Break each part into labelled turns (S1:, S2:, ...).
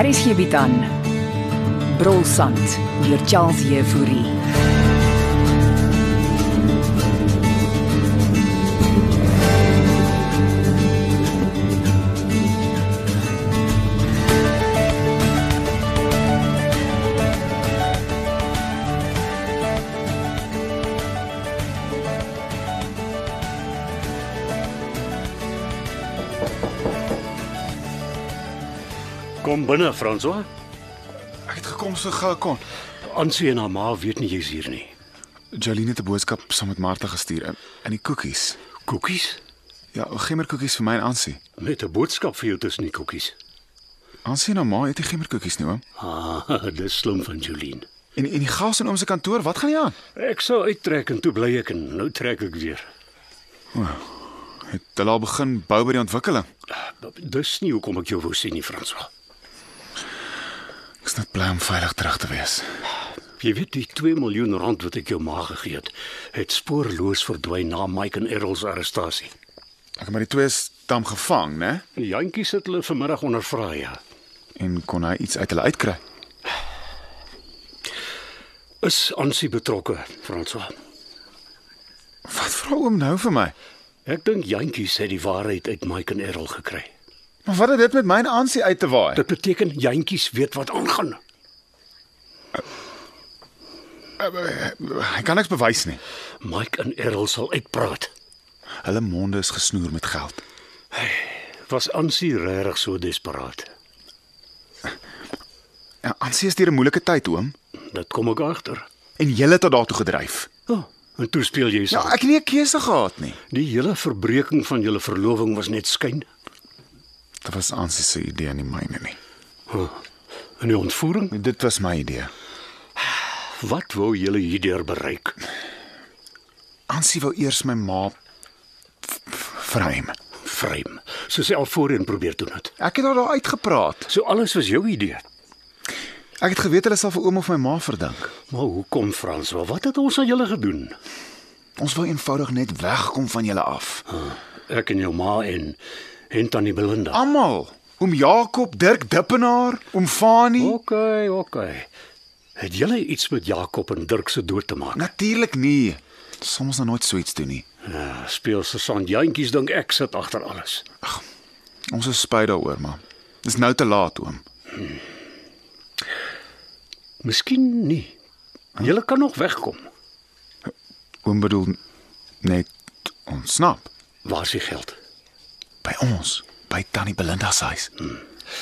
S1: Hier is hierby dan. Brolsand deur Charles Jefouri.
S2: Kom binne, François.
S3: Ek het eh, gekom so gou ek kon.
S2: Ansie en haar ma weet nie jy's hier nie.
S3: Jolene het 'n boodskap saam met Martha gestuur in in die koekies.
S2: Koekies?
S3: Ja, gemmerkoekies vir my en Ansie.
S2: Met 'n boodskap vir jou tussen die koekies.
S3: Ansie en haar ma eet nie gemmerkoekies nie, oom.
S2: Ah, dis slim van Jolien.
S3: En en die gas in oom se kantoor, wat gaan jy aan?
S2: Ek sou uittrek en toe bly ek en nou trek ek weer.
S3: Het hulle al begin bou by die ontwikkeling.
S2: Dis nie hoekom ek jou wou sien nie, François.
S3: Ek's net bly om veilig terug te wees.
S2: Jy weet die 2 miljoen rand wat ek jou ma gegee het, het spoorloos verdwyn na Mike en Errol se arrestasie.
S3: Ek maar die twee is tam gevang, né?
S2: Die Jantjies het hulle vanmiddag ondervra ja.
S3: En kon hy iets uit hulle uitkry?
S2: Is Ansie betrokke, François?
S3: Wat vra oom nou vir my?
S2: Ek dink Jantjies het die waarheid uit Mike en Errol gekry.
S3: Maar wat het dit met my en Ansie uit te waai?
S2: Dit beteken jantjies weet wat aangaan.
S3: Hy kan niks bewys nie.
S2: Mike en Errol sal uitpraat.
S3: Hulle monde is gesnoer met geld.
S2: Was Ansie regtig so desperaat?
S3: En Ja, Ansie is deur 'n moeilike tyd, oom,
S2: Dit kom ek agter.
S3: en jy het haar daartoe gedryf.
S2: Ja, en toe speel jy
S3: Ja,
S2: saam.
S3: ek het nie 'n keuse gehad nie.
S2: Die hele verbreeking van julle verloving was net skyn.
S3: Dit was Ansie se idee, nie myne nie.
S2: Huh. En die ontvoering?
S3: Dit was my idee.
S2: Wat wou julle hierdeur bereik?
S3: Ansie wou eers my ma v- vreem.
S2: Vreem. Soos sy al voorheen probeer doen het.
S3: Ek het haar daar uitgepraat.
S2: So alles was jou idee.
S3: Ek het geweet hulle sal vir oom of my ma verdink.
S2: Maar hoekom Frans? Wat het ons aan julle gedoen?
S3: Ons wou eenvoudig net wegkom van julle af.
S2: Ek en jou ma en en tannie Belinda.
S3: Almal. Oom Jakob, Dirk Dippenaar, oom Fani. Oh.
S2: OK, OK. Het julle iets met Jakob en Dirk se dood te maak?
S3: Natuurlik nie. Soms nou nooit so iets doen nie.
S2: Ja, speel se sandjantjies dink ek sit agter alles.
S3: Ons is spyt daaroor, maar dis nou te laat, oom.
S2: Miskien nie. Julle kan nog wegkom.
S3: Oom bedoel net ontsnap
S2: Waar is die geld?
S3: by ons, by Tannie Belinda se huis.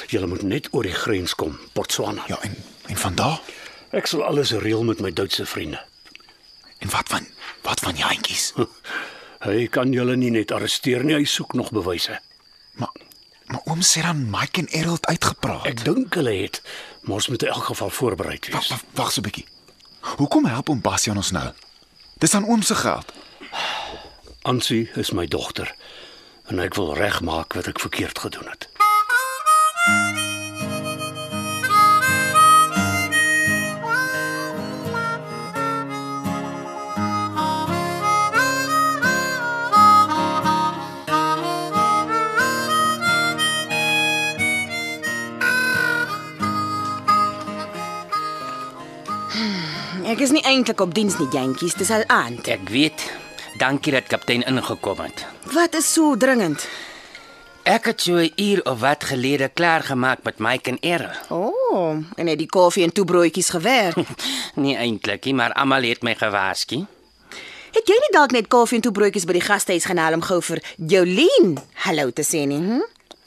S2: Julle moet net oor die grens kom, Botswana.
S3: Ja, en en van daar?
S2: Ek sal alles reël met my Duitse vriende.
S3: En wat van wat van jantjies?
S2: Hy kan julle nie net arresteer nie, hy soek nog bewyse.
S3: maar maar oom sê dan Mike en Errol het uitgepraat.
S2: Ek dink hulle het, maar ons moet in elk geval voorberei
S3: Wag,
S2: wees.
S3: wag, wag so 'n bietjie. Hoekom help oom Basie aan ons nou? Dis aan oom se geld.
S2: Ansie is my dogter en ek wil regmaak wat ek verkeerd gedoen het.
S4: Ek is nie eintlik op diens nie, jentjies, dis al aand.
S5: Ek weet. Dankie dat kaptein ingekom het.
S4: Wat is so dringend?
S5: Ek het so 'n uur of wat gelede klaar gemaak met Mike en Errol.
S4: O, oh, en het die koffie en toebroodjies gewerk.
S5: Nie eintlik nie, maar almal het my gewaarsku.
S4: het jy nie dalk net koffie en toebroodjies by die gastehuis gaan haal om gou vir Jolien hallo te sê nie? Hm?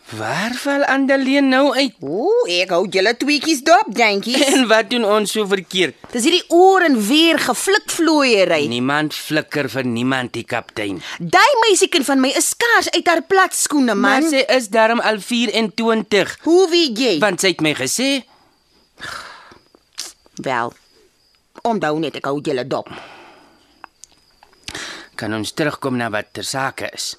S5: Waar val Andeleen nou uit?
S4: O, ek hou julle tweetjies dop, jentjies.
S5: En wat doen ons so verkeerd?
S4: Dis hierdie oor en weer geflikvlooiery.
S5: Niemand flikker vir niemand die kaptein.
S4: Daai meisiekind van my is skaars uit haar plat skoene,
S5: Maar
S4: man.
S5: sy is darm al 24,
S4: Hoe weet jy?
S5: want sy het my gesê
S4: Wel. Onthou net ek hou julle dop.
S5: kan ons terugkom na wat ter sake is.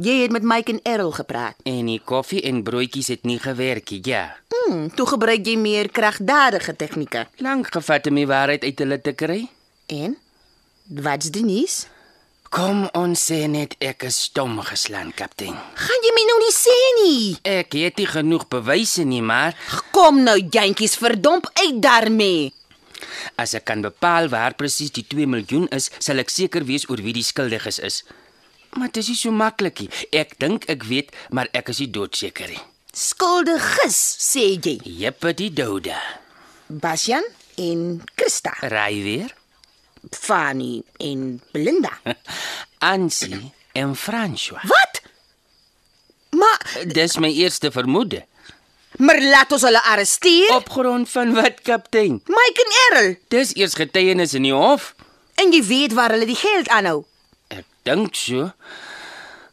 S4: Jy het met Mike en Errol gepraat.
S5: En die koffie en broodjies het nie gewerk nie, ja.
S4: Hmm, toe gebruik jy meer kragdadige tegnieke.
S5: Lank gevat om die waarheid uit hulle te kry.
S4: En wat's die nuus?
S5: Kom ons sê net ek is stom geslaan, kaptein.
S4: Gaan jy my nou nie sê nie.
S5: Ek het nie genoeg bewyse nie, maar
S4: Kom nou, jantjies, verdomp uit daarmee.
S5: as ek kan bepaal waar presies die 2 miljoen is, sal ek seker wees oor wie die skuldiges is. Maar dit is nie so maklik nie. Ek dink ek weet, maar ek is nie doodseker nie.
S4: Skuldiges, sê jy.
S5: Jeppe die dode.
S4: Basjan en Christa,
S5: Ry weer.
S4: Fanny en Belinda.
S5: Ansie en François.
S4: Wat? Maar
S5: Dis my eerste vermoede.
S4: maar laat ons hulle arresteer.
S5: Op grond van wat, kaptein?
S4: Mike en Errol,
S5: Dis eers getuienis in die hof.
S4: en jy weet waar hulle die geld aanhou.
S5: Ek dink so.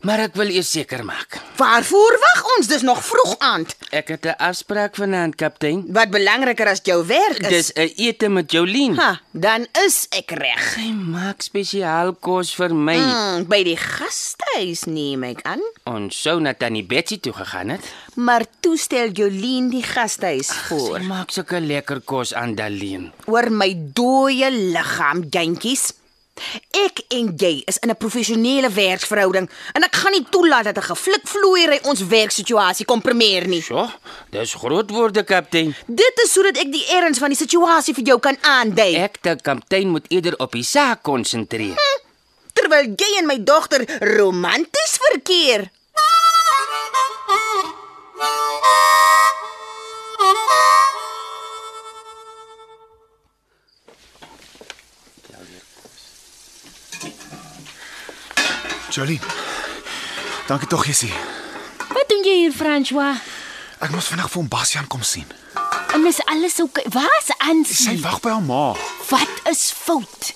S5: Maar ek wil eers seker maak.
S4: Waarvoor wag ons dus nog vroeg aand?
S5: Ek het 'n afspraak vanaand, kaptein.
S4: Wat belangriker as jou werk is.
S5: Dis 'n ete met Jolien.
S4: ha, dan is ek reg.
S5: Sy maak spesiaal kos vir my.
S4: Hmm, by die gastehuis neem ek aan,
S5: Ons sou na Tannie Betsy toe gegaan het.
S4: maar toestel Jolien die gastehuis voor.
S5: Sy maak sulke lekker kos aan Daleen.
S4: oor my dooie liggaam, jentjies. Ek en jy is in 'n professionele werksverhouding en ek gaan nie toelaat dat 'n geflikvloeiery ons werksituasie komprimeer nie.
S5: So, dis groot woorde, kaptein.
S4: Dit is sodat ek die erns van die situasie vir jou kan aandui.
S5: Ek dink kaptein moet eerder op die saak konsentreer.
S4: Terwyl jy en my dogter romanties verkeer.
S3: Jolene. Dankie tog, Jessie.
S6: Wat doen jy hier, François?
S3: Ek moes vinnig vir hom Bastian kom sien.
S6: En is alles oukei? Okay? Waar's
S3: Sy
S6: Ansie?
S3: wag by haar ma.
S6: Wat is fout?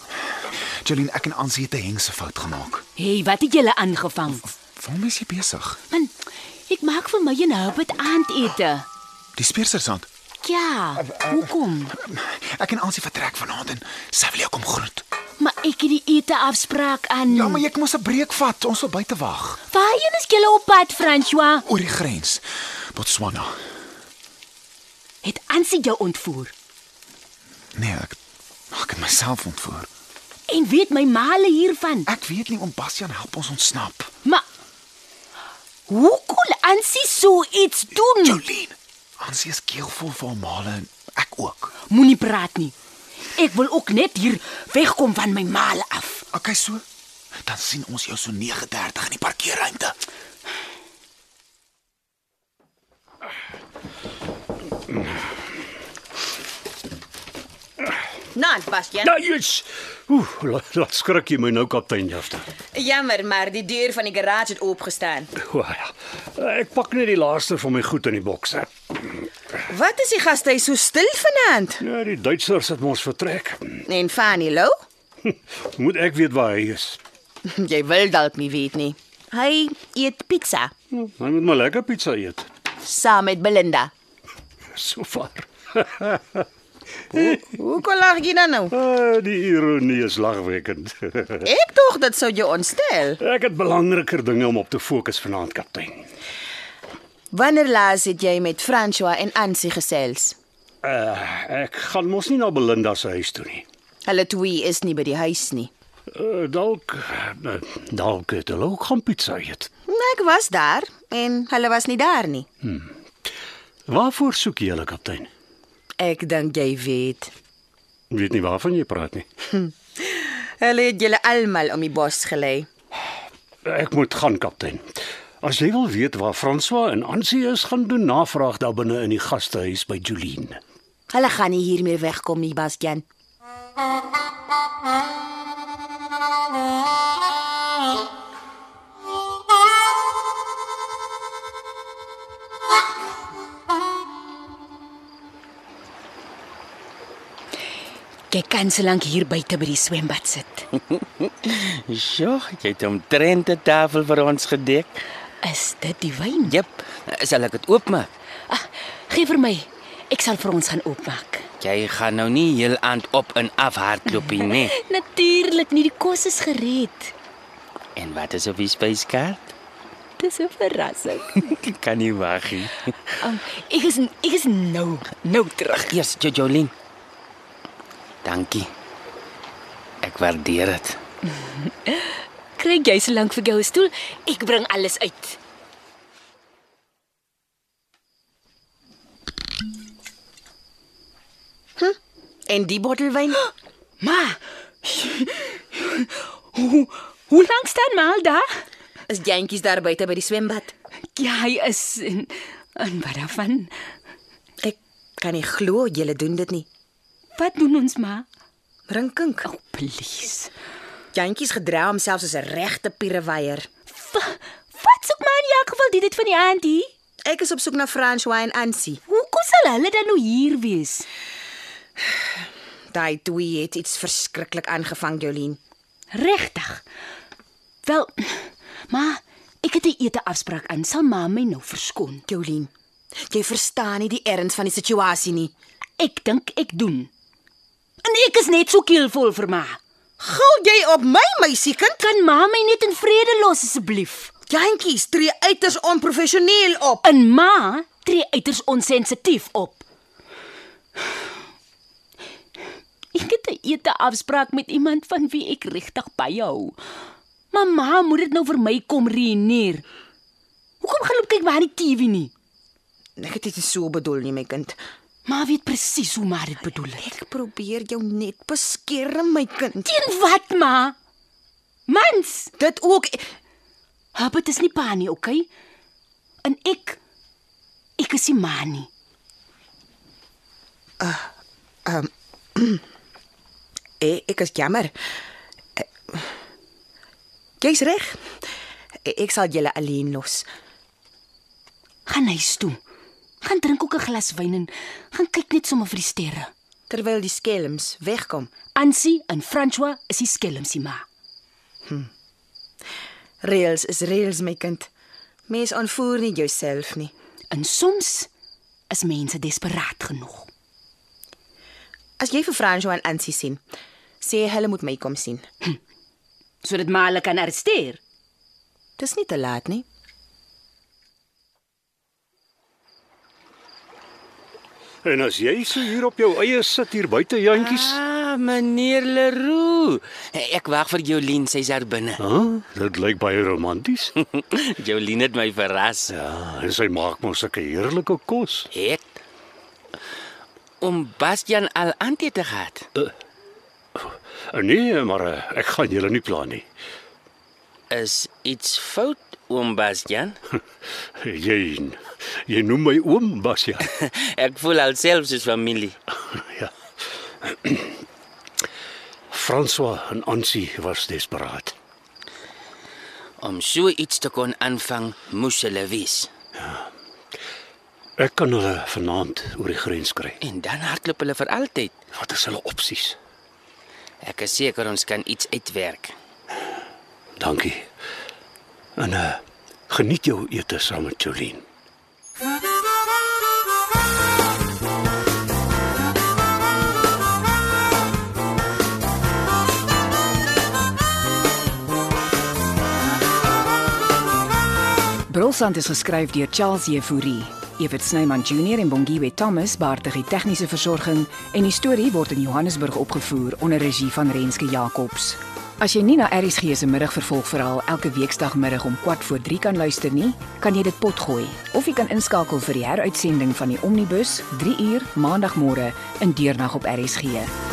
S3: Jolene, ek en Ansie het 'n hengse fout gemaak.
S6: Hey, wat het julle aangevang?
S3: Waarom is jy besig?
S6: Man, ek maak vir my en Herbert aandete.
S3: Die speersersand.
S6: Ja, hoekom?
S3: Ek en Ansie vertrek vanaand en sy wil jou kom groet.
S6: Maar ek het die ete afspraak aan.
S3: Ja, maar ek moes 'n breek vat. Ons wil buite wag
S6: Waarheen is julle op pad, François?
S3: oor die grens. Botswana.
S6: Het Ansie jou ontvoer?
S3: Nee, ek ek het myself ontvoer.
S6: En weet my maale hiervan?
S3: Ek weet nie om Bastian help ons ontsnap.
S6: Maar hoe kon Ansie so iets doen?
S3: Jolene, Ansie is keelvol vir haar male en ek ook.
S6: Moenie praat nie. Ek wil ook net hier wegkom van my maale af.
S3: Okay, so dan sien ons jou so 9:30 in die parkeerruimte.
S4: Nou, Bastian.
S2: Nou jy's. Oeh, la- laat skrik jy my nou kaptein Jafta.
S4: Jammer, maar die deur van die garage het oopgestaan.
S2: O ja. Ek pak net die laaste van my goed in die boks. Hè.
S4: Wat is die gastehuis so stil vanaand?
S2: Ja, die Duitsers het ons vertrek.
S4: En Fanny Lou?
S2: Moet ek weet waar hy is?
S4: Jy wil dalk nie weet nie. Hy eet pizza
S2: Hm, Hy moet maar lekker pizza eet.
S4: saam met Belinda.
S2: So ver.
S4: Hoekom lag jy dan nou?
S2: Ah, die ironie is lagwekkend.
S4: Ek dink dit sou jou ontstel.
S2: ek het belangriker dinge om op te fokus vanaand, kaptein.
S4: Wanneer laas het jy met François en Ansie gesels?
S2: Uh, ek gaan mos nie na Belinda se huis toe nie.
S4: Hulle twee is nie by die huis nie.
S2: Uh, dalk uh, dalk het hulle ook gaan pizza eet.
S4: Ek was daar en hulle was nie daar nie.
S2: Waarvoor soek jy hulle, kaptein?
S4: Ek dink jy weet.
S2: Weet nie waarvan jy praat nie.
S4: Hulle het julle almal om die bos gelei.
S2: Ek moet gaan, kaptein. As jy wil weet waar François en Ansie is, gaan doen navraag daar binne in die gastehuis by Julien.
S4: Hulle gaan nie hier meer wegkom nie, Bastian.
S6: Jy kan so lank hier buite by die swembad sit.
S5: Sjoe, Ja, jy het omtrent 'n tafel vir ons gedek.
S6: Is dit die wyn?
S5: Jep, sal ek dit oopmaak?
S6: Ah, gee vir my. Ek sal vir ons gaan oopmaak.
S5: Jy gaan nou nie heel aand op en af hardloop nie, nee. né?
S6: Natuurlik, nie die kos is gereed.
S5: En wat is op die spyskaart?
S6: Dis 'n verrassing.
S5: Ek kan nie wag nie.
S6: Um, ek is ek is nou nou terug.
S5: Eers Jo- Jolien. Dankie. Ek waardeer dit.
S6: Kry jy so lank vir jou 'n stoel? Ek bring alles uit.
S4: En die bottel wyn?
S6: Ma. hoe hoe lank staan maar daar?
S4: Is jentjies daar buite by die swembad?
S6: Ja, hy is en, en wat daarvan?
S4: Ek kan nie glo julle doen dit nie.
S6: Wat doen ons maar?
S4: Rinkink.
S6: Oh, please.
S4: Jentjies gedra homself soos 'n regte piereweier.
S6: Va, wat soek maar in elk geval dit dit van die auntie?
S4: Ek is op soek na François en Ansie.
S6: Hoekom sal hulle dan nou hier wees?
S4: Daai twee het iets verskriklik aangevang, Jolien.
S6: Regtig. Wel, maar ek het 'n ete afspraak aan. Sal ma my nou verskon?
S4: Jolien, jy verstaan nie die erns van die situasie nie.
S6: Ek dink ek doen. En ek is net so keelvol vir ma.
S4: Gil jy op my meisiekind?
S6: Kan ma my net in vrede los asseblief?
S4: Jantjies tree uiters onprofessioneel op.
S6: En ma tree uiters onsensitief op. Ek het 'n ete afspraak met iemand van wie ek regtig baie hou. Mamma moet dit nou vir my kom reëneer. Hoekom gaan loop kyk maar die TV nie?
S4: Ek het dit nie so bedoel nie, my kind.
S6: Ma weet presies hoe maar dit bedoel het.
S4: Ek probeer jou net beskerm, my kind.
S6: Teen wat ma? Mans,
S4: Dit ook
S6: Hubbard is nie pa nie, okay? En ek ek is nie ma nie.
S4: ek, Eh, ek is jammer. Eh, Jy's reg. Eh, Ek sal julle alleen los.
S6: Gaan huis toe. Gaan drink ook 'n glas wyn en gaan kyk net sommer vir die sterre.
S4: terwyl die skelms wegkom.
S6: Ansie en François is die skelmsie ma.
S4: Reels is reels, my kind. Mens aanvoer nie jouself nie.
S6: En soms is mense desperaat genoeg.
S4: As jy vir Franjo en Ansie sien, sê hulle moet my kom sien.
S6: Sodat ma hulle kan arresteer.
S4: Dis nie te laat nie.
S2: En as jy so hier op jou eie sit hier buite jantjies,
S5: Ah, meneer Leroux. Ek wag vir Jolien, sy's daar binne.
S2: hè? Huh? Dit lyk baie romanties.
S5: Jolien het my verras.
S2: Ja, en sy maak mos sulke heerlike kos.
S5: Het om Bastian al aan te te gehad.
S2: Eh, Nee, maar eh, ek gaan julle nie pla nie.
S5: Is iets fout, oom Bastian?
S2: Jy jy noem my oom Basia.
S5: Ek voel alself soos familie.
S2: ja. François en Ansie was desperaat.
S5: Om so iets te kon aanvang, moes hulle wees.
S2: Ek kan hulle vanaand oor die grens kry.
S5: En dan hardloop hulle vir altyd.
S2: Wat is hulle opsies?
S5: Ek is seker ons kan iets uitwerk.
S2: Dankie. En uh, geniet jou ete saam met Jolien.
S1: Brolsand is geskryf deur Charles Jefouri. Evit Snyman Junior en Bongwe Thomas baartig die tegniese versorging en die storie word in Johannesburg opgevoer onder regie van Renske Jacobs. As jy nie na ERG se middagvervolgverhaal elke weekdagmiddag om 14:00 kan luister nie, kan jy dit potgooi of jy kan inskakel vir die heruitsending van die Omnibus 3 uur maandagmôre in deernag op ERG.